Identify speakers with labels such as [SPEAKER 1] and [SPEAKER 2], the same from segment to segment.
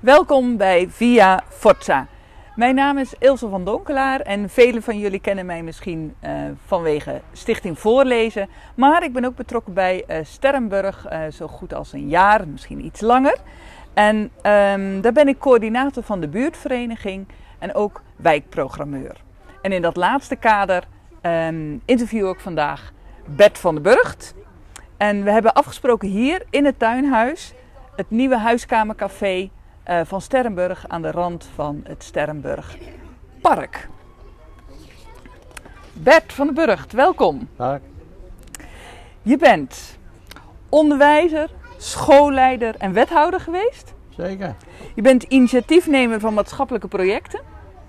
[SPEAKER 1] Welkom bij Via Forza. Mijn naam is Ilse van Donkelaar en velen van jullie kennen mij misschien eh, vanwege Stichting Voorlezen. Maar ik ben ook betrokken bij eh, Sterrenburg eh, zo goed als een jaar, misschien iets langer. En ehm, daar ben ik coördinator van de buurtvereniging en ook wijkprogrammeur. En in dat laatste kader ehm, interview ik vandaag Bert van den Burgt. En we hebben afgesproken hier in het tuinhuis het nieuwe huiskamercafé eh, van Sterrenburg aan de rand van het Sterrenburg Park. Bert van den Burgt, welkom.
[SPEAKER 2] Dag.
[SPEAKER 1] Je bent onderwijzer, schoolleider en wethouder geweest.
[SPEAKER 2] Zeker.
[SPEAKER 1] Je bent initiatiefnemer van maatschappelijke projecten,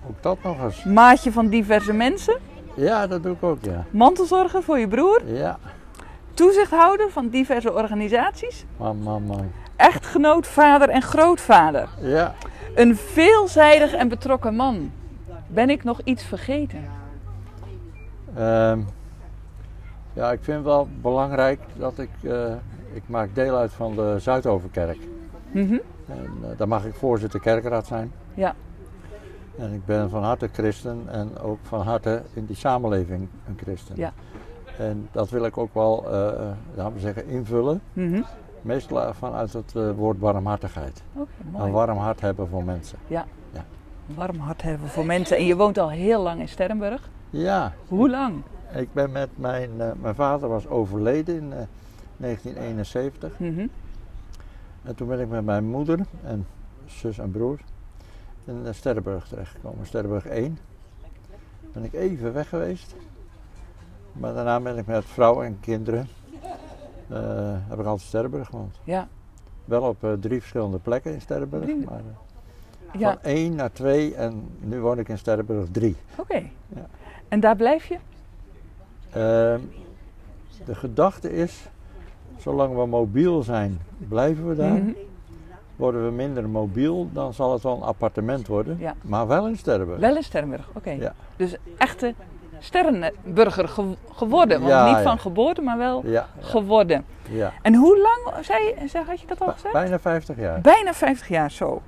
[SPEAKER 2] Ook dat nog eens.
[SPEAKER 1] maatje van diverse mensen,
[SPEAKER 2] Ja, dat doe ik ook, ja.
[SPEAKER 1] mantelzorger voor je broer,
[SPEAKER 2] Ja.
[SPEAKER 1] toezichthouder van diverse organisaties,
[SPEAKER 2] Man, man, man.
[SPEAKER 1] echtgenoot, vader en grootvader.
[SPEAKER 2] Ja.
[SPEAKER 1] Een veelzijdig en betrokken man. Ben ik nog iets vergeten?
[SPEAKER 2] Ehm, ja, ik vind wel belangrijk dat ik... eh, ik maak deel uit van de Zuidoverkerk.
[SPEAKER 1] Mhm.
[SPEAKER 2] En eh, daar mag ik voorzitter kerkraad zijn.
[SPEAKER 1] Ja.
[SPEAKER 2] En ik ben van harte christen en ook van harte in die samenleving een christen.
[SPEAKER 1] Ja.
[SPEAKER 2] En dat wil ik ook wel, eh, eh, laten we zeggen, invullen.
[SPEAKER 1] Mhm.
[SPEAKER 2] Meestal vanuit het eh, woord barmhartigheid.
[SPEAKER 1] Oké,
[SPEAKER 2] Een
[SPEAKER 1] mooi.
[SPEAKER 2] warm hart hebben voor mensen.
[SPEAKER 1] Een warm hart hebben voor mensen. En je woont al heel lang in Sterrenburg.
[SPEAKER 2] Ja,
[SPEAKER 1] Hoe lang?
[SPEAKER 2] Ik ben met mijn, eh, mijn vader was overleden in eh, 1971.
[SPEAKER 1] Mhm.
[SPEAKER 2] En toen ben ik met mijn moeder en zus en broer in eh, Sterrenburg terechtgekomen. Sterrenburg 1. Ben ik even weg geweest. Maar daarna ben ik met vrouw en kinderen. eh, heb ik altijd Sterrenburg gewoond.
[SPEAKER 1] Ja.
[SPEAKER 2] Wel op eh, drie verschillende plekken in Sterrenburg.
[SPEAKER 1] Drie.
[SPEAKER 2] Maar, eh,
[SPEAKER 1] Ja,
[SPEAKER 2] Van 1 naar 2 en nu woon ik in Sterrenburg 3.
[SPEAKER 1] oké.
[SPEAKER 2] Ja.
[SPEAKER 1] En daar blijf je?
[SPEAKER 2] Ehm, de gedachte is, zolang we mobiel zijn, blijven we daar.
[SPEAKER 1] Mhm.
[SPEAKER 2] Worden we minder mobiel, dan zal het wel een appartement worden.
[SPEAKER 1] Ja.
[SPEAKER 2] Maar wel in Sterrenburg.
[SPEAKER 1] Wel in Sterrenburg, oké.
[SPEAKER 2] Ja.
[SPEAKER 1] Dus echte Sterrenburger ge- geworden. Want
[SPEAKER 2] Ja,
[SPEAKER 1] niet
[SPEAKER 2] ja.
[SPEAKER 1] van geboorte, maar wel
[SPEAKER 2] Ja,
[SPEAKER 1] geworden.
[SPEAKER 2] ja.
[SPEAKER 1] En hoe lang, zei, zei- had je dat al gezegd?
[SPEAKER 2] Bijna 50 jaar.
[SPEAKER 1] Bijna 50 jaar zo.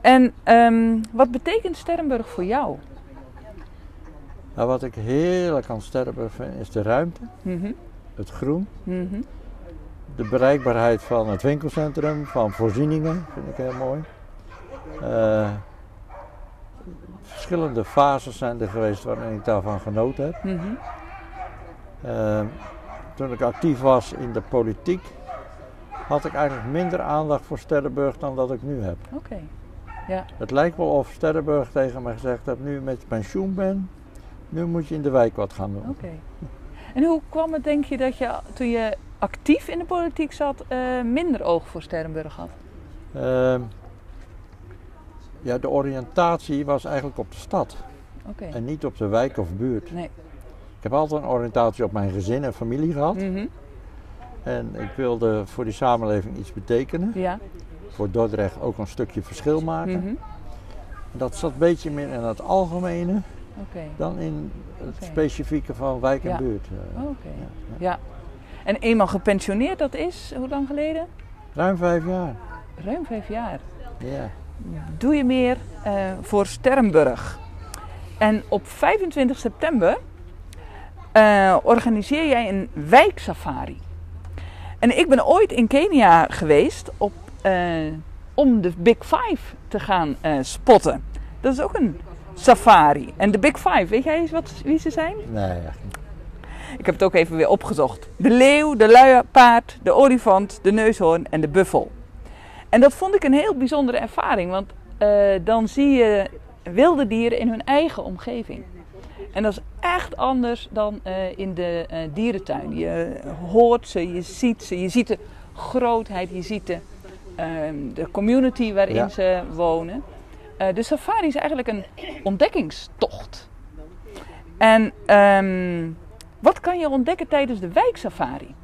[SPEAKER 1] En ehm, wat betekent Sterrenburg voor jou?
[SPEAKER 2] Nou, wat ik heerlijk aan Sterrenburg vind, is de ruimte,
[SPEAKER 1] Mhm,
[SPEAKER 2] het groen,
[SPEAKER 1] mhm.
[SPEAKER 2] de bereikbaarheid van het winkelcentrum, van voorzieningen, vind ik heel mooi. Eh, verschillende fases zijn er geweest waarin ik daarvan genoten heb.
[SPEAKER 1] Mhm.
[SPEAKER 2] Eh, toen ik actief was in de politiek, had ik eigenlijk minder aandacht voor Sterrenburg dan dat ik nu heb.
[SPEAKER 1] Oké.
[SPEAKER 2] Het lijkt wel of Sterrenburg tegen mij gezegd heeft, nu je met pensioen bent, nu moet je in de wijk wat gaan doen.
[SPEAKER 1] Oké. En hoe kwam het, denk je, dat je toen je actief in de politiek zat, eh, minder oog voor Sterrenburg had?
[SPEAKER 2] Ehm, ja, de oriëntatie was eigenlijk op de stad
[SPEAKER 1] Oké.
[SPEAKER 2] en niet op de wijk of buurt.
[SPEAKER 1] Nee.
[SPEAKER 2] Ik heb altijd een oriëntatie op mijn gezin en familie gehad.
[SPEAKER 1] Mhm.
[SPEAKER 2] En ik wilde voor die samenleving iets betekenen.
[SPEAKER 1] Ja.
[SPEAKER 2] Voor Dordrecht ook een stukje verschil maken.
[SPEAKER 1] Mhm.
[SPEAKER 2] Dat zat een beetje meer in het algemene.
[SPEAKER 1] Oké.
[SPEAKER 2] Dan in het
[SPEAKER 1] Oké.
[SPEAKER 2] specifieke van wijk en
[SPEAKER 1] Ja. Oh.
[SPEAKER 2] buurt. eh,
[SPEAKER 1] Oké.
[SPEAKER 2] ja.
[SPEAKER 1] En eenmaal gepensioneerd, dat is hoe lang geleden?
[SPEAKER 2] Ruim vijf jaar.
[SPEAKER 1] Ruim vijf jaar.
[SPEAKER 2] Ja.
[SPEAKER 1] Doe je meer eh, voor Sterrenburg. En op 25 september eh, organiseer jij een wijksafari. En ik ben ooit in Kenia geweest op, eh, om de Big Five te gaan eh, spotten. Dat is ook een safari. En de Big Five, weet jij eens wat, wie ze zijn?
[SPEAKER 2] Nee, echt niet.
[SPEAKER 1] Ik heb het ook even weer opgezocht. De leeuw, de luipaard, de olifant, de neushoorn en de buffel. En dat vond ik een heel bijzondere ervaring, want eh, dan zie je wilde dieren in hun eigen omgeving. En dat is echt anders dan eh, in de eh, dierentuin. Je hoort ze, je ziet ze, je ziet de grootheid, je ziet de, ehm, de community waarin
[SPEAKER 2] Ja.
[SPEAKER 1] ze wonen. Eh, de safari is eigenlijk een ontdekkingstocht. En ehm, wat kan je ontdekken tijdens de wijksafari?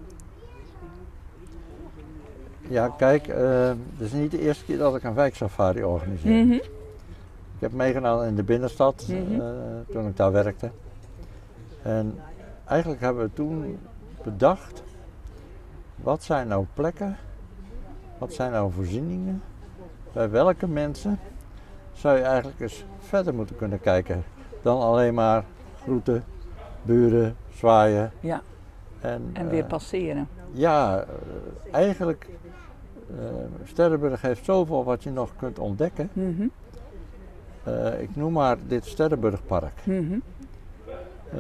[SPEAKER 2] Ja, kijk, eh, het is niet de eerste keer dat ik een wijksafari organiseer.
[SPEAKER 1] Mhm,
[SPEAKER 2] Ik heb meegedaan in de binnenstad
[SPEAKER 1] Mhm.
[SPEAKER 2] eh, toen ik daar werkte. En eigenlijk hebben we toen bedacht, wat zijn nou plekken, wat zijn nou voorzieningen bij welke mensen zou je eigenlijk eens verder moeten kunnen kijken dan alleen maar groeten, buren, zwaaien.
[SPEAKER 1] Ja.
[SPEAKER 2] En,
[SPEAKER 1] En weer
[SPEAKER 2] eh,
[SPEAKER 1] passeren.
[SPEAKER 2] ja, eh, eigenlijk, eh Sterrenburg heeft zoveel wat je nog kunt ontdekken.
[SPEAKER 1] Mhm,
[SPEAKER 2] Eh, ik noem maar dit Sterrenburgpark.
[SPEAKER 1] mhm.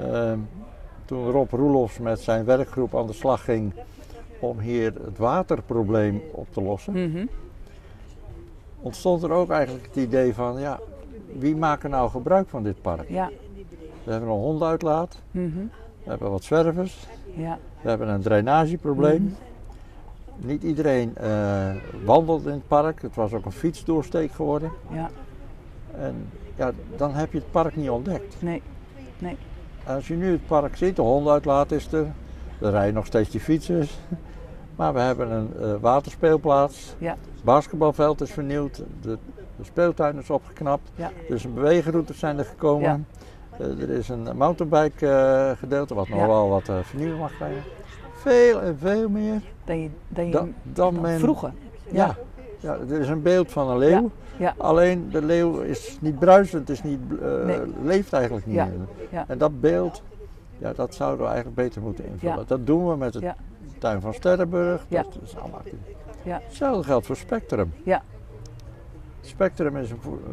[SPEAKER 2] Eh, toen Rob Roelofs met zijn werkgroep aan de slag ging om hier het waterprobleem op te lossen,
[SPEAKER 1] Mhm.
[SPEAKER 2] ontstond er ook eigenlijk het idee van, ja, wie maken nou gebruik van dit park?
[SPEAKER 1] Ja.
[SPEAKER 2] We hebben een hondenuitlaat,
[SPEAKER 1] Mhm.
[SPEAKER 2] we hebben wat zwervers,
[SPEAKER 1] Ja.
[SPEAKER 2] We hebben een drainageprobleem. Niet iedereen eh, wandelt in het park. Het was ook een fietsdoorsteek geworden.
[SPEAKER 1] Ja.
[SPEAKER 2] En ja, dan heb je het park niet ontdekt.
[SPEAKER 1] Nee. Nee.
[SPEAKER 2] Als je nu het park ziet, de hondenuitlaat is er. Er rijden nog steeds die fietsers. Maar we hebben een eh, waterspeelplaats.
[SPEAKER 1] Ja.
[SPEAKER 2] Het basketbalveld is vernieuwd. De, de speeltuin is opgeknapt.
[SPEAKER 1] Ja.
[SPEAKER 2] Dus een beweegroutes zijn er gekomen.
[SPEAKER 1] Ja.
[SPEAKER 2] Eh, er is een mountainbike eh, gedeelte wat nog
[SPEAKER 1] Ja.
[SPEAKER 2] wel wat eh, vernieuwing mag krijgen. Veel en veel meer
[SPEAKER 1] Dan je, dan je
[SPEAKER 2] dan, dan men...
[SPEAKER 1] vroeger.
[SPEAKER 2] Ja. ja, er is een beeld van een leeuw.
[SPEAKER 1] ja.
[SPEAKER 2] Alleen de leeuw is niet bruisend, is niet, eh,
[SPEAKER 1] Nee.
[SPEAKER 2] leeft eigenlijk niet.
[SPEAKER 1] Ja,
[SPEAKER 2] meer.
[SPEAKER 1] ja.
[SPEAKER 2] En dat beeld, ja, dat zouden we eigenlijk beter moeten invullen.
[SPEAKER 1] Ja.
[SPEAKER 2] Dat doen we met de
[SPEAKER 1] Ja.
[SPEAKER 2] tuin van Sterrenburg.
[SPEAKER 1] Ja.
[SPEAKER 2] Dat is allemaal actief.
[SPEAKER 1] Ja.
[SPEAKER 2] Hetzelfde geldt voor Spectrum.
[SPEAKER 1] Ja.
[SPEAKER 2] Spectrum is een, voor- eh,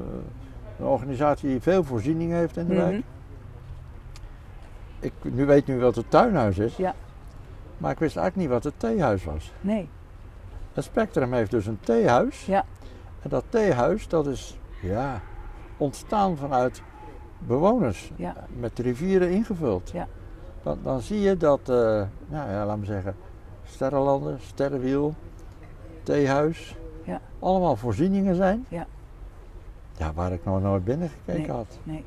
[SPEAKER 2] een organisatie die veel voorziening heeft in de
[SPEAKER 1] Mhm.
[SPEAKER 2] wijk. Ik nu weet nu wat het tuinhuis is,
[SPEAKER 1] Ja.
[SPEAKER 2] maar ik wist eigenlijk niet wat het theehuis was.
[SPEAKER 1] Nee.
[SPEAKER 2] Het Spectrum heeft dus een theehuis.
[SPEAKER 1] Ja.
[SPEAKER 2] En dat theehuis dat is ja, ontstaan vanuit bewoners.
[SPEAKER 1] Ja.
[SPEAKER 2] Met de rivieren ingevuld.
[SPEAKER 1] Ja.
[SPEAKER 2] Dan, dan zie je dat, eh nou ja, laat me zeggen, Sterrenlanden, Sterrenwiel, theehuis.
[SPEAKER 1] Ja.
[SPEAKER 2] Allemaal voorzieningen zijn.
[SPEAKER 1] Ja.
[SPEAKER 2] Ja, waar ik nog nooit binnengekeken
[SPEAKER 1] Nee,
[SPEAKER 2] had.
[SPEAKER 1] nee.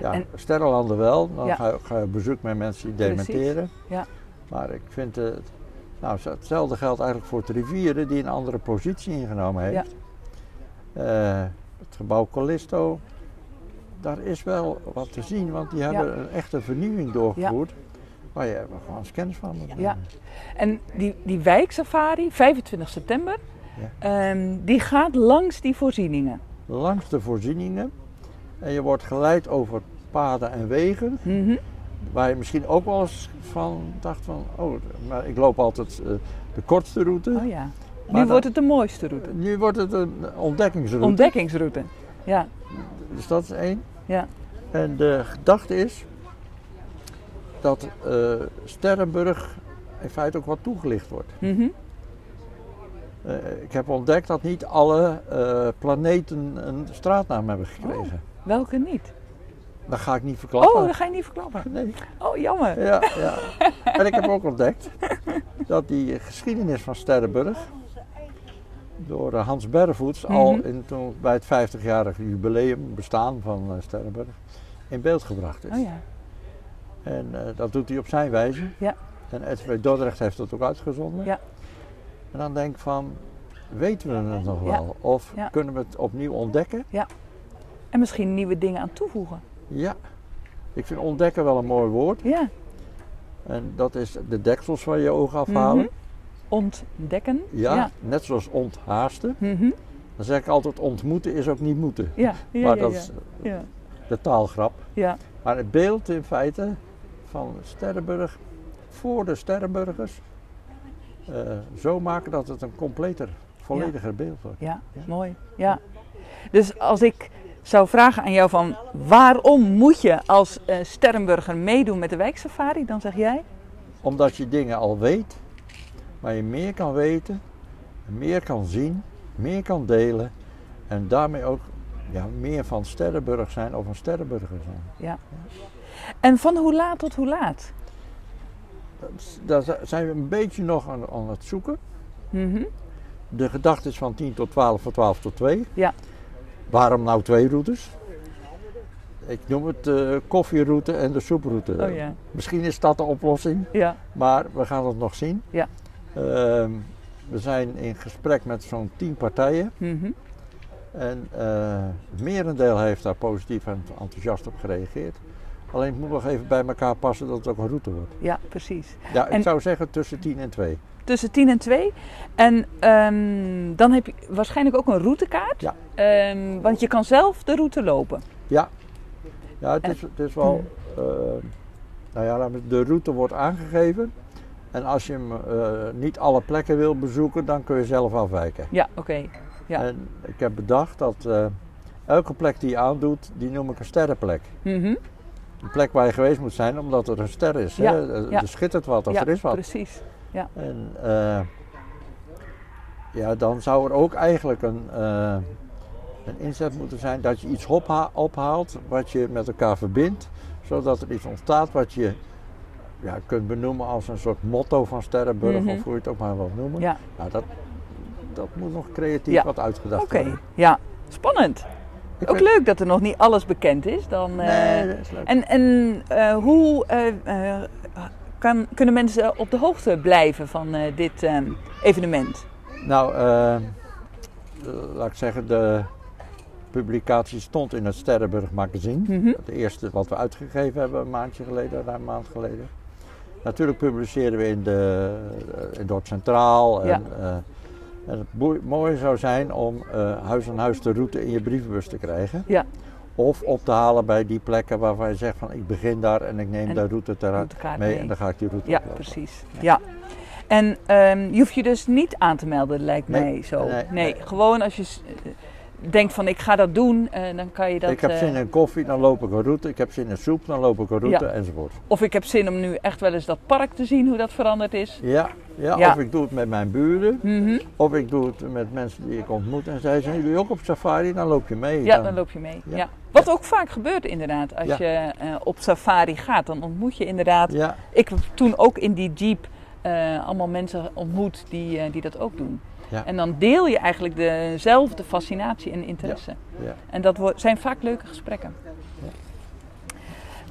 [SPEAKER 2] Ja,
[SPEAKER 1] En-
[SPEAKER 2] Sterrenlanden wel. Dan
[SPEAKER 1] Ja.
[SPEAKER 2] ga, ga je op bezoek met mensen die
[SPEAKER 1] Precies.
[SPEAKER 2] dementeren.
[SPEAKER 1] Ja.
[SPEAKER 2] Maar ik vind het... Nou, hetzelfde geldt eigenlijk voor de rivieren die een andere positie
[SPEAKER 1] Ja.
[SPEAKER 2] ingenomen heeft. Eh, het gebouw Callisto, daar is wel wat te zien, want die hebben een echte vernieuwing doorgevoerd. Waar je gewoon eens kennis van moet nemen.
[SPEAKER 1] Ja. En die, die wijksafari, 25 september, ehm, die gaat langs die voorzieningen.
[SPEAKER 2] Langs de voorzieningen. En je wordt geleid over paden en wegen.
[SPEAKER 1] Mhm.
[SPEAKER 2] Waar je misschien ook wel eens van dacht van, oh, maar ik loop altijd eh, de kortste route.
[SPEAKER 1] Oh ja. Nu
[SPEAKER 2] dan-
[SPEAKER 1] wordt het de mooiste route.
[SPEAKER 2] Nu wordt het een ontdekkingsroute.
[SPEAKER 1] Ontdekkingsroute. Ja.
[SPEAKER 2] Dus dat is één.
[SPEAKER 1] Ja.
[SPEAKER 2] En de gedachte is dat eh, Sterrenburg in feite ook wat toegelicht wordt.
[SPEAKER 1] Mhm.
[SPEAKER 2] Eh, ik heb ontdekt dat niet alle eh, planeten een straatnaam hebben gekregen.
[SPEAKER 1] Welke niet?
[SPEAKER 2] Dat ga ik niet
[SPEAKER 1] Oh,
[SPEAKER 2] verklappen.
[SPEAKER 1] dat ga je niet verklappen.
[SPEAKER 2] Nee.
[SPEAKER 1] Oh, jammer.
[SPEAKER 2] Ja, ja. En ik heb ook ontdekt dat die geschiedenis van Sterrenburg door eh, Hans Berrevoets al
[SPEAKER 1] Mhm.
[SPEAKER 2] in, toen, bij het 50-jarig jubileum bestaan van eh, Sterrenburg in beeld gebracht is.
[SPEAKER 1] Oh ja.
[SPEAKER 2] En eh, dat doet hij op zijn wijze.
[SPEAKER 1] Ja.
[SPEAKER 2] En RTV Dordrecht heeft dat ook uitgezonden.
[SPEAKER 1] Ja.
[SPEAKER 2] En dan denk ik van, weten we het nog
[SPEAKER 1] Ja.
[SPEAKER 2] wel? Of
[SPEAKER 1] Ja.
[SPEAKER 2] kunnen we het opnieuw ontdekken?
[SPEAKER 1] En misschien nieuwe dingen aan toevoegen.
[SPEAKER 2] Ja. Ik vind ontdekken wel een mooi woord.
[SPEAKER 1] Ja.
[SPEAKER 2] En dat is de deksels van je ogen afhalen.
[SPEAKER 1] Ontdekken.
[SPEAKER 2] ja,
[SPEAKER 1] Mhm. Ja.
[SPEAKER 2] net zoals onthaasten.
[SPEAKER 1] Mhm.
[SPEAKER 2] Dan zeg ik altijd, ontmoeten is ook niet moeten.
[SPEAKER 1] Ja. Ja,
[SPEAKER 2] maar
[SPEAKER 1] ja,
[SPEAKER 2] dat
[SPEAKER 1] ja.
[SPEAKER 2] is
[SPEAKER 1] Ja.
[SPEAKER 2] de taalgrap.
[SPEAKER 1] Ja.
[SPEAKER 2] Maar het beeld in feite van Sterrenburg voor de Sterrenburgers eh, zo maken dat het een completer, vollediger beeld wordt.
[SPEAKER 1] Ja,
[SPEAKER 2] Ja.
[SPEAKER 1] mooi. Ja. Dus als ik zou vragen aan jou van waarom moet je als eh, Sterrenburger meedoen met de wijksafari, dan zeg jij
[SPEAKER 2] Omdat je dingen al weet, maar je meer kan weten, meer kan zien, meer kan delen en daarmee ook ja, meer van Sterrenburg zijn of een Sterrenburger zijn.
[SPEAKER 1] en van hoe laat tot hoe laat?
[SPEAKER 2] Dat- Daar zijn we een beetje nog aan, aan het zoeken.
[SPEAKER 1] Mhm.
[SPEAKER 2] De gedachte is van 10 tot 12, van 12 tot 2.
[SPEAKER 1] Ja.
[SPEAKER 2] Waarom nou twee routes? Ik noem het de koffieroute en de soeproute.
[SPEAKER 1] Oh ja.
[SPEAKER 2] Misschien is dat de oplossing,
[SPEAKER 1] Ja.
[SPEAKER 2] maar we gaan het nog zien.
[SPEAKER 1] Ja.
[SPEAKER 2] Ehm, we zijn in gesprek met zo'n 10 partijen.
[SPEAKER 1] Mhm.
[SPEAKER 2] En eh, het merendeel heeft daar positief en enthousiast op gereageerd. Alleen het moet nog even bij elkaar passen dat het ook een route wordt.
[SPEAKER 1] Ja, precies.
[SPEAKER 2] Ja, ik
[SPEAKER 1] En-
[SPEAKER 2] zou zeggen tussen 10 en 2.
[SPEAKER 1] Tussen 10 en 2. En ehm, dan heb je waarschijnlijk ook een routekaart.
[SPEAKER 2] Ja.
[SPEAKER 1] Ehm, want je kan zelf de route lopen.
[SPEAKER 2] Ja,
[SPEAKER 1] En-
[SPEAKER 2] het
[SPEAKER 1] Hmm.
[SPEAKER 2] is, het is wel. eh, nou ja, laten we- de route wordt aangegeven. En als je hem eh, niet alle plekken wil bezoeken, dan kun je zelf afwijken.
[SPEAKER 1] Ja, oké. Ja.
[SPEAKER 2] En ik heb bedacht dat eh, elke plek die je aandoet, die noem ik een sterrenplek.
[SPEAKER 1] Mhm.
[SPEAKER 2] Een plek waar je geweest moet zijn, omdat er een ster is.
[SPEAKER 1] Ja,
[SPEAKER 2] hè? Eh, Er,
[SPEAKER 1] ja.
[SPEAKER 2] er schittert wat of
[SPEAKER 1] ja,
[SPEAKER 2] er is wat.
[SPEAKER 1] precies.
[SPEAKER 2] En eh, ja, dan zou er ook eigenlijk een, eh, een inzet moeten zijn dat je iets opha- ophaalt wat je met elkaar verbindt, zodat er iets ontstaat wat je ja, kunt benoemen als een soort motto van Sterrenburg,
[SPEAKER 1] Mhm.
[SPEAKER 2] of hoe je het ook maar wilt noemen.
[SPEAKER 1] Ja.
[SPEAKER 2] Nou, dat, dat moet nog creatief
[SPEAKER 1] Ja.
[SPEAKER 2] wat uitgedacht
[SPEAKER 1] Oké,
[SPEAKER 2] worden.
[SPEAKER 1] ja. Spannend.
[SPEAKER 2] Ik
[SPEAKER 1] Ook
[SPEAKER 2] weet-
[SPEAKER 1] leuk dat er nog niet alles bekend is. Dan, eh,
[SPEAKER 2] Nee, dat is leuk.
[SPEAKER 1] En, en eh, hoe eh, eh, kan, kunnen mensen op de hoogte blijven van eh, dit ehm, evenement?
[SPEAKER 2] Nou, eh, eh, laat ik zeggen, de publicatie stond in het Sterrenburg magazine.
[SPEAKER 1] Mhm.
[SPEAKER 2] Het eerste wat we uitgegeven hebben een maandje geleden, ruim een maand geleden. Natuurlijk publiceren we in, de, eh, in Dorp Centraal. En,
[SPEAKER 1] Ja.
[SPEAKER 2] eh, en het boe- mooie zou zijn om eh, huis aan huis de route in je brievenbus te krijgen.
[SPEAKER 1] Ja.
[SPEAKER 2] Of op te halen bij die plekken waarvan je zegt van ik begin daar en ik neem
[SPEAKER 1] En
[SPEAKER 2] de route ter,
[SPEAKER 1] Routekaart
[SPEAKER 2] mee
[SPEAKER 1] mee.
[SPEAKER 2] en dan ga ik die route
[SPEAKER 1] Ja,
[SPEAKER 2] oplopen.
[SPEAKER 1] precies. Ja. En ehm, je hoeft je dus niet aan te melden, lijkt
[SPEAKER 2] Nee,
[SPEAKER 1] mij zo.
[SPEAKER 2] nee, nee.
[SPEAKER 1] gewoon als je s- eh, denkt van ik ga dat doen, eh, dan kan je dat...
[SPEAKER 2] ik heb
[SPEAKER 1] eh,
[SPEAKER 2] zin in koffie, dan loop ik een route. Ik heb zin in soep, dan loop ik een route
[SPEAKER 1] Ja.
[SPEAKER 2] enzovoort.
[SPEAKER 1] Of ik heb zin om nu echt wel eens dat park te zien, hoe dat veranderd is.
[SPEAKER 2] Ja, ja,
[SPEAKER 1] Ja.
[SPEAKER 2] of ik doe het met mijn buren,
[SPEAKER 1] Mhm.
[SPEAKER 2] of ik doe het met mensen die ik ontmoet. En zij zijn jullie ook op safari, dan loop je mee.
[SPEAKER 1] Ja, dan loop je mee. Ja.
[SPEAKER 2] Ja.
[SPEAKER 1] Wat ook vaak gebeurt inderdaad, als
[SPEAKER 2] Ja.
[SPEAKER 1] je eh, op safari gaat, dan ontmoet je inderdaad...
[SPEAKER 2] Ja,
[SPEAKER 1] Ik heb toen ook in die jeep eh, allemaal mensen ontmoet die, eh, die dat ook doen.
[SPEAKER 2] Ja.
[SPEAKER 1] En dan deel je eigenlijk dezelfde fascinatie en interesse.
[SPEAKER 2] ja.
[SPEAKER 1] En dat wo- zijn vaak leuke gesprekken.
[SPEAKER 2] Ja.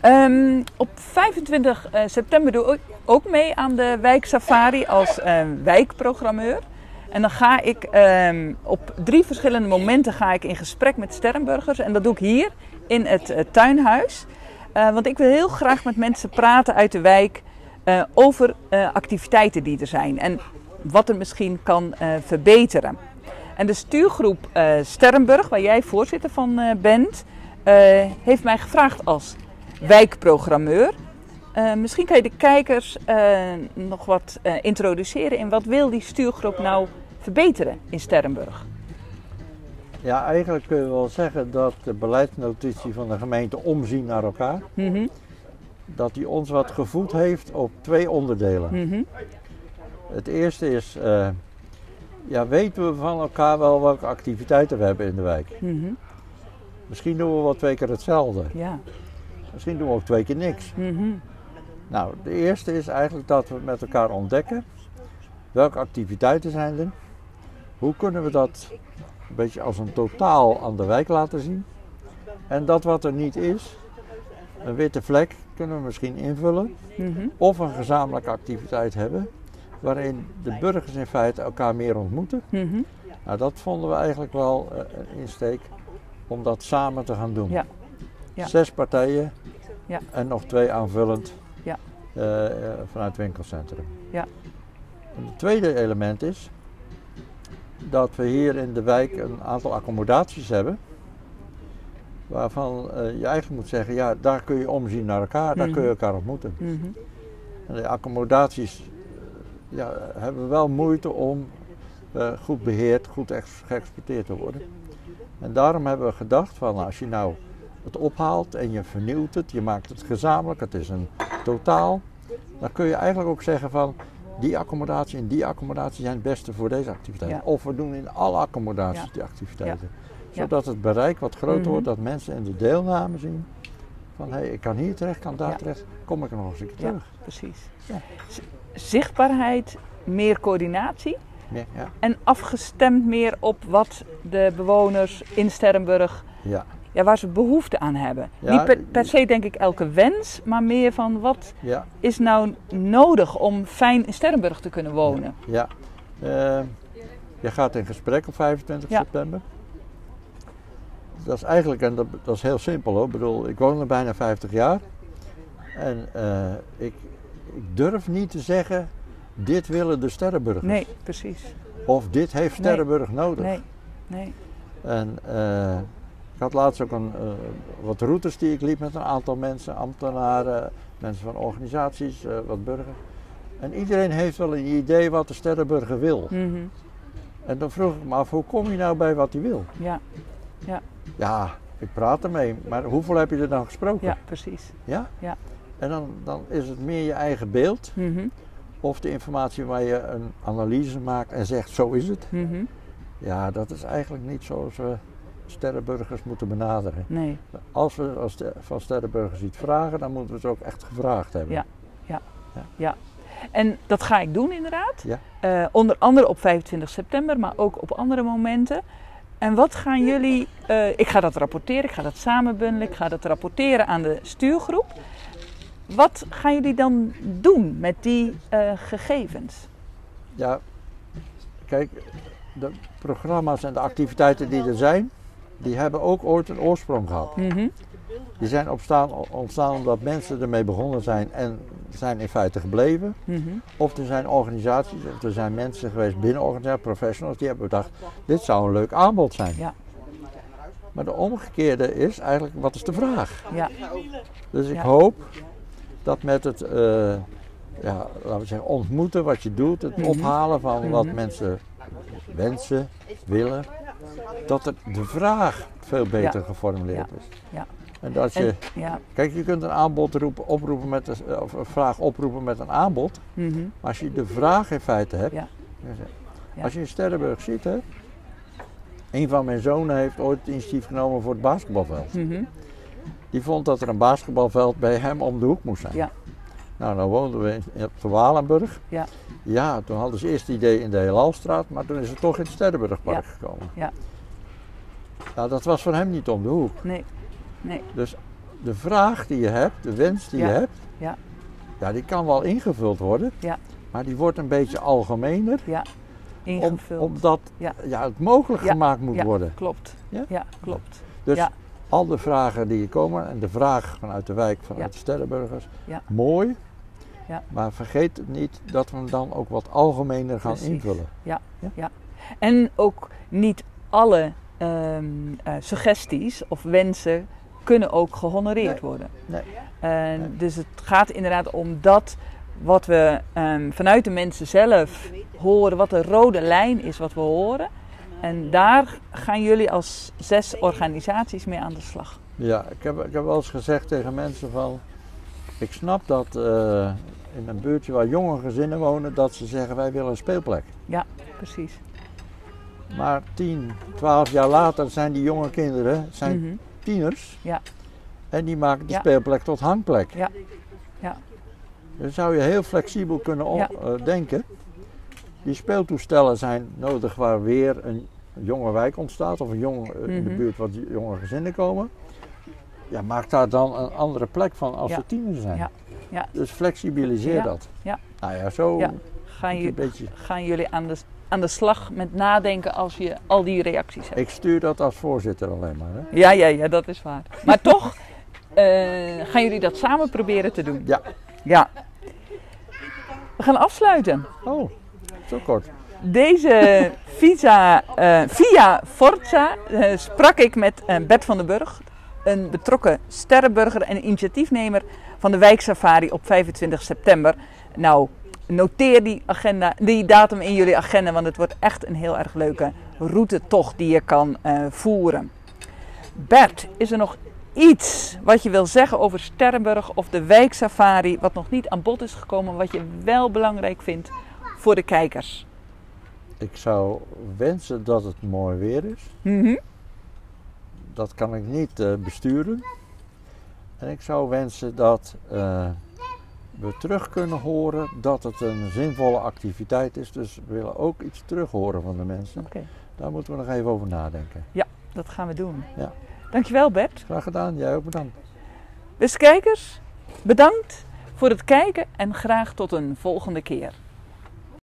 [SPEAKER 1] Ehm, op 25 eh, september doe ik ook mee aan de Wijk Safari als eh, wijkprogrammeur. En dan ga ik ehm, op drie verschillende momenten ga ik in gesprek met Sternburgers. En dat doe ik hier in het eh, tuinhuis. Eh, want ik wil heel graag met mensen praten uit de wijk eh, over eh, activiteiten die er zijn. En wat er misschien kan eh, verbeteren. En de stuurgroep eh Sterrenburg, waar jij voorzitter van eh, bent, eh, heeft mij gevraagd als wijkprogrammeur. Eh, misschien kan je de kijkers eh, nog wat eh, introduceren in wat wil die stuurgroep nou verbeteren in Sterrenburg.
[SPEAKER 2] ja, eigenlijk kun je wel zeggen dat de beleidsnotitie van de gemeente omzien naar elkaar,
[SPEAKER 1] Mhm,
[SPEAKER 2] dat die ons wat gevoed heeft op twee onderdelen.
[SPEAKER 1] mhm,
[SPEAKER 2] Het eerste is, eh, ja, weten we van elkaar wel welke activiteiten we hebben in de wijk?
[SPEAKER 1] mhm.
[SPEAKER 2] Misschien doen we wel twee keer hetzelfde.
[SPEAKER 1] Ja.
[SPEAKER 2] Misschien doen we ook twee keer niks.
[SPEAKER 1] mhm,
[SPEAKER 2] Nou, de eerste is eigenlijk dat we met elkaar ontdekken welke activiteiten zijn er. Hoe kunnen we dat een beetje als een totaal aan de wijk laten zien? En dat wat er niet is, een witte vlek, kunnen we misschien invullen.
[SPEAKER 1] mhm.
[SPEAKER 2] Of een gezamenlijke activiteit hebben waarin de burgers in feite elkaar meer ontmoeten.
[SPEAKER 1] mhm.
[SPEAKER 2] Nou, dat vonden we eigenlijk wel eh, een insteek om dat samen te gaan doen.
[SPEAKER 1] Ja. Ja.
[SPEAKER 2] Zes partijen
[SPEAKER 1] Ja.
[SPEAKER 2] en nog twee aanvullend
[SPEAKER 1] Ja.
[SPEAKER 2] eh, eh, vanuit het winkelcentrum.
[SPEAKER 1] Ja.
[SPEAKER 2] En het tweede element is dat we hier in de wijk een aantal accommodaties hebben. Waarvan eh, je eigenlijk moet zeggen, ja, daar kun je omzien naar elkaar, daar
[SPEAKER 1] Mhm.
[SPEAKER 2] kun je elkaar ontmoeten.
[SPEAKER 1] mhm.
[SPEAKER 2] En de accommodaties eh, ja, hebben wel moeite om eh, goed beheerd, goed ex- geëxporteerd te worden. En daarom hebben we gedacht van als je nou het ophaalt en je vernieuwt het, je maakt het gezamenlijk, het is een totaal, dan kun je eigenlijk ook zeggen van die accommodatie en die accommodatie zijn het beste voor deze activiteit.
[SPEAKER 1] Ja.
[SPEAKER 2] Of we doen in alle accommodaties
[SPEAKER 1] Ja.
[SPEAKER 2] die activiteiten.
[SPEAKER 1] Ja.
[SPEAKER 2] Zodat het bereik wat groter
[SPEAKER 1] Mhm.
[SPEAKER 2] wordt, dat mensen in de deelname zien van hé, hey, ik kan hier terecht, kan daar
[SPEAKER 1] Ja.
[SPEAKER 2] terecht, kom ik nog eens een keer
[SPEAKER 1] Ja.
[SPEAKER 2] terug.
[SPEAKER 1] Precies.
[SPEAKER 2] Ja.
[SPEAKER 1] Z- Zichtbaarheid, meer coördinatie
[SPEAKER 2] Ja, ja.
[SPEAKER 1] en afgestemd meer op wat de bewoners in Sterrenburg
[SPEAKER 2] Ja,
[SPEAKER 1] ja, waar ze behoefte aan hebben.
[SPEAKER 2] Ja, eh,
[SPEAKER 1] Niet per, per se denk ik elke wens, maar meer van wat
[SPEAKER 2] ja,
[SPEAKER 1] is nou nodig om fijn in Sterrenburg te kunnen wonen.
[SPEAKER 2] ja. Eh, je gaat in gesprek op 25
[SPEAKER 1] Ja.
[SPEAKER 2] september. Dat is eigenlijk, en dat, dat is heel simpel hoor, ik bedoel, ik woon er bijna 50 jaar. En eh, ik, ik durf niet te zeggen, dit willen de Sterrenburgers.
[SPEAKER 1] Nee, precies.
[SPEAKER 2] Of dit heeft
[SPEAKER 1] Nee.
[SPEAKER 2] Sterrenburg nodig.
[SPEAKER 1] Nee, nee.
[SPEAKER 2] En eh, ik had laatst ook een, eh, wat routes die ik liep met een aantal mensen, ambtenaren, mensen van organisaties, eh, wat burgers. En iedereen heeft wel een idee wat de Sterrenburger wil.
[SPEAKER 1] Mhm.
[SPEAKER 2] En dan vroeg ik me af, hoe kom je nou bij wat hij wil?
[SPEAKER 1] Ja,
[SPEAKER 2] Ja, ik praat ermee, maar hoeveel heb je er dan gesproken?
[SPEAKER 1] ja, precies.
[SPEAKER 2] Ja?
[SPEAKER 1] Ja.
[SPEAKER 2] En dan, dan is het meer je eigen beeld
[SPEAKER 1] Mhm,
[SPEAKER 2] of de informatie waar je een analyse maakt en zegt, zo is het.
[SPEAKER 1] mhm.
[SPEAKER 2] Ja, dat is eigenlijk niet zoals we Sterrenburgers moeten benaderen.
[SPEAKER 1] Nee,
[SPEAKER 2] Als we als de- van Sterrenburgers iets vragen, dan moeten we ze ook echt gevraagd hebben.
[SPEAKER 1] Ja. En dat ga ik doen inderdaad.
[SPEAKER 2] Ja.
[SPEAKER 1] Eh, onder andere op 25 september, maar ook op andere momenten. En wat gaan jullie... eh, ik ga dat rapporteren, ik ga dat samenbundelen, ik ga dat rapporteren aan de stuurgroep. Wat gaan jullie dan doen met die eh, gegevens?
[SPEAKER 2] Ja, kijk, de programma's en de activiteiten die er zijn, die hebben ook ooit een oorsprong gehad.
[SPEAKER 1] Mhm,
[SPEAKER 2] Die zijn ontstaan, ontstaan omdat mensen ermee begonnen zijn en zijn in feite gebleven.
[SPEAKER 1] mhm,
[SPEAKER 2] Of er zijn organisaties, of er zijn mensen geweest binnen organisaties, professionals, die hebben bedacht, dit zou een leuk aanbod zijn.
[SPEAKER 1] Ja.
[SPEAKER 2] Maar de omgekeerde is eigenlijk, wat is de vraag?
[SPEAKER 1] Ja,
[SPEAKER 2] Dus ik
[SPEAKER 1] Ja.
[SPEAKER 2] hoop dat met het, eh, ja, laten we zeggen, ontmoeten wat je doet, het
[SPEAKER 1] Mhm.
[SPEAKER 2] ophalen van wat
[SPEAKER 1] Mhm.
[SPEAKER 2] mensen wensen, willen, dat het, de vraag veel beter geformuleerd is.
[SPEAKER 1] Ja.
[SPEAKER 2] En dat je,
[SPEAKER 1] en, ja.
[SPEAKER 2] kijk, je kunt een aanbod roepen, oproepen met een, eh, of een vraag oproepen met een aanbod.
[SPEAKER 1] mhm.
[SPEAKER 2] Maar als je de vraag in feite hebt.
[SPEAKER 1] Ja. Ja.
[SPEAKER 2] Als je in Sterrenburg zit, hè. Een van mijn zonen heeft ooit het initiatief genomen voor het basketbalveld.
[SPEAKER 1] Mhm.
[SPEAKER 2] Die vond dat er een basketbalveld bij hem om de hoek moest zijn.
[SPEAKER 1] Ja.
[SPEAKER 2] Nou, dan woonden we in- op de Walenburg.
[SPEAKER 1] Ja.
[SPEAKER 2] Ja, toen hadden ze eerst het idee in de Heelalstraat, maar toen is het toch in het Sterrenburgpark
[SPEAKER 1] Ja.
[SPEAKER 2] gekomen.
[SPEAKER 1] Ja.
[SPEAKER 2] Nou, dat was voor hem niet om de hoek.
[SPEAKER 1] Nee. Nee.
[SPEAKER 2] Dus de vraag die je hebt, de wens die
[SPEAKER 1] Ja.
[SPEAKER 2] je hebt,
[SPEAKER 1] Ja.
[SPEAKER 2] ja, die kan wel ingevuld worden,
[SPEAKER 1] Ja.
[SPEAKER 2] maar die wordt een beetje algemener. Om-
[SPEAKER 1] Ingevuld.
[SPEAKER 2] omdat
[SPEAKER 1] Ja.
[SPEAKER 2] ja. het mogelijk
[SPEAKER 1] Ja,
[SPEAKER 2] gemaakt moet
[SPEAKER 1] ja.
[SPEAKER 2] worden.
[SPEAKER 1] Klopt.
[SPEAKER 2] Ja?
[SPEAKER 1] klopt.
[SPEAKER 2] Dus
[SPEAKER 1] Ja.
[SPEAKER 2] al de vragen die hier komen en de vraag vanuit de wijk, vanuit
[SPEAKER 1] Ja.
[SPEAKER 2] de Sterrenburgers,
[SPEAKER 1] Ja.
[SPEAKER 2] mooi.
[SPEAKER 1] Ja.
[SPEAKER 2] Maar vergeet het niet dat we hem dan ook wat algemener gaan
[SPEAKER 1] Precies.
[SPEAKER 2] invullen.
[SPEAKER 1] En ook niet alle ehm, eh, suggesties of wensen kunnen ook gehonoreerd worden.
[SPEAKER 2] Nee.
[SPEAKER 1] Eh,
[SPEAKER 2] Nee.
[SPEAKER 1] Dus het gaat inderdaad om dat wat we ehm, vanuit de mensen zelf horen, wat de rode lijn is wat we horen. En daar gaan jullie als zes organisaties mee aan de slag.
[SPEAKER 2] Ja, ik heb, ik heb wel eens gezegd tegen mensen van, ik snap dat eh, in een buurtje waar jonge gezinnen wonen, dat ze zeggen wij willen een speelplek.
[SPEAKER 1] Precies.
[SPEAKER 2] Maar 10, 12 jaar later zijn die jonge kinderen, zijn
[SPEAKER 1] Mhm.
[SPEAKER 2] tieners.
[SPEAKER 1] Ja.
[SPEAKER 2] En die maken de
[SPEAKER 1] Ja.
[SPEAKER 2] speelplek tot hangplek.
[SPEAKER 1] Ja. Ja.
[SPEAKER 2] Dan zou je heel flexibel kunnen om-
[SPEAKER 1] Ja.
[SPEAKER 2] eh, denken. Die speeltoestellen zijn nodig waar weer een jonge wijk ontstaat. Of een jong, eh, in de
[SPEAKER 1] Mhm.
[SPEAKER 2] buurt wat jonge gezinnen komen. Ja, maak daar dan een andere plek van als
[SPEAKER 1] Ja.
[SPEAKER 2] er tieners zijn.
[SPEAKER 1] Ja. Ja.
[SPEAKER 2] Dus flexibiliseer
[SPEAKER 1] Ja.
[SPEAKER 2] dat.
[SPEAKER 1] Ja.
[SPEAKER 2] Nou ja, zo
[SPEAKER 1] Ja.
[SPEAKER 2] moet
[SPEAKER 1] Gaan,
[SPEAKER 2] je een
[SPEAKER 1] ju-
[SPEAKER 2] beetje...
[SPEAKER 1] gaan jullie aan de, aan de slag met nadenken als je al die reacties hebt?
[SPEAKER 2] Ik stuur dat als voorzitter alleen maar. Hè?
[SPEAKER 1] Ja, ja, ja, dat is waar. Maar toch eh, gaan jullie dat samen proberen te doen.
[SPEAKER 2] Ja.
[SPEAKER 1] Ja. We gaan afsluiten.
[SPEAKER 2] Oh, zo kort.
[SPEAKER 1] Deze visa, eh, via Forza eh, sprak ik met eh, Bert van den Burg, een betrokken sterrenburger en initiatiefnemer van de wijksafari op 25 september. Nou, noteer die, agenda, die datum in jullie agenda, want het wordt echt een heel erg leuke routetocht die je kan eh, voeren. Bert, is er nog iets wat je wil zeggen over Sterrenburg of de wijksafari, wat nog niet aan bod is gekomen, wat je wel belangrijk vindt voor de kijkers?
[SPEAKER 2] Ik zou wensen dat het mooi weer is.
[SPEAKER 1] Mhm.
[SPEAKER 2] Dat kan ik niet eh, besturen. En ik zou wensen dat eh, we terug kunnen horen dat het een zinvolle activiteit is. Dus we willen ook iets terug horen van de mensen.
[SPEAKER 1] Oké.
[SPEAKER 2] Daar moeten we nog even over nadenken.
[SPEAKER 1] Dat gaan we doen.
[SPEAKER 2] Ja.
[SPEAKER 1] Dankjewel Bert. Dus
[SPEAKER 2] Graag gedaan, jij ook bedankt.
[SPEAKER 1] Beste kijkers, bedankt voor het kijken en graag tot een volgende keer.